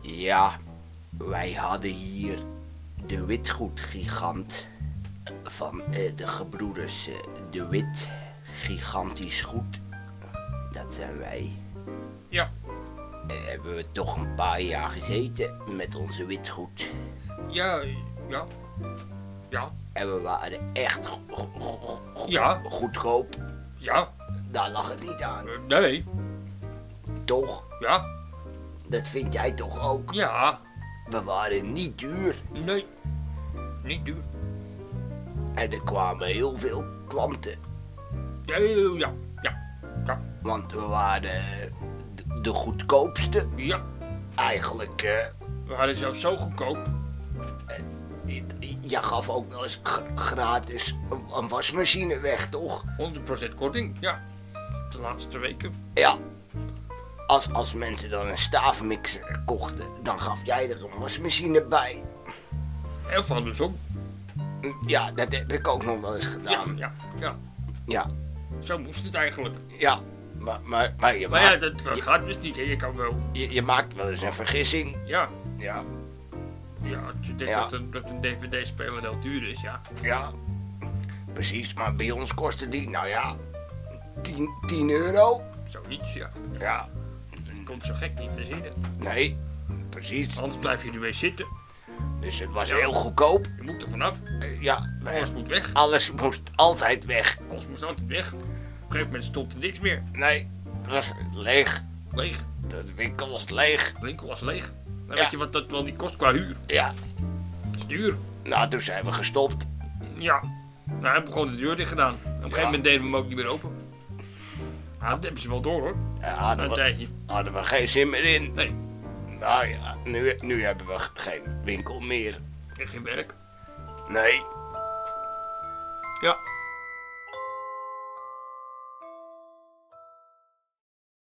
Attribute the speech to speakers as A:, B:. A: Ja, wij hadden hier de witgoedgigant van eh, de gebroeders eh, De Wit. Gigantisch goed. Dat zijn wij.
B: Ja.
A: Eh, hebben we toch een paar jaar gezeten met onze witgoed.
B: Ja, ja. Ja,
A: En we waren echt go- go- go- go-
B: Ja.
A: goedkoop.
B: ja,
A: Daar lag het niet aan.
B: eh, nee,
A: Toch?
B: ja,
A: Dat vind jij toch ook?
B: ja,
A: We waren niet duur.
B: nee. Niet duur.
A: En er kwamen heel veel klanten.
B: Eh, Ja, ja,
A: Want we waren eh, de- de goedkoopste.
B: ja.
A: Eigenlijk, eh,
B: We hadden zelfs zo goedkoop.
A: j- jij gaf ook wel eens g- gratis een- een wasmachine weg, toch?
B: 100% korting, ja. De laatste weken.
A: Ja. Als, als mensen dan een staafmixer kochten, dan gaf jij er een wasmachine bij.
B: En van dus om.
A: Ja, dat heb ik ook nog wel eens
B: Ja,
A: gedaan.
B: ja, ja.
A: Ja,
B: Zo moest het eigenlijk.
A: ja. Maar, maar, maar, je,
B: Maar ja,
A: maakt,
B: dat, dat gaat dus niet. Hè. Je kan wel,
A: je, je maakt wel eens een vergissing.
B: ja.
A: Ja,
B: Ja, als je denkt
A: Ja.
B: dat een, dat een dvd-speler heel duur is, ja.
A: ja. Precies, maar bij ons kostte die, nou ja, 10, 10 euro.
B: Zoiets, ja.
A: Ja,
B: Komt zo gek niet te zien.
A: nee, precies.
B: Anders blijf je er weer zitten.
A: Dus het was
B: Ja.
A: heel goedkoop.
B: Je moet er vanaf.
A: Eh, Ja, eh,
B: Alles moet weg.
A: alles moest altijd weg.
B: Alles moest altijd weg. Op een gegeven moment stond er niks meer.
A: Nee, het was leeg.
B: Leeg.
A: De winkel was leeg.
B: De winkel was leeg. Dan
A: Ja.
B: weet je wat dat wel die kost qua huur.
A: Ja,
B: Dat is duur.
A: nou toen zijn we gestopt.
B: Ja. Nou, hebben we gewoon de deur dicht gedaan. Op een gegeven moment deden we hem ook niet meer open. Ah, dat hebben ze wel door hoor.
A: Eh,
B: Na
A: hadden,
B: een
A: we,
B: tijdje.
A: hadden we geen zin meer in.
B: Nee,
A: Nou ja, nu, nu hebben we g- geen winkel meer.
B: echt geen werk.
A: Nee,
B: Ja.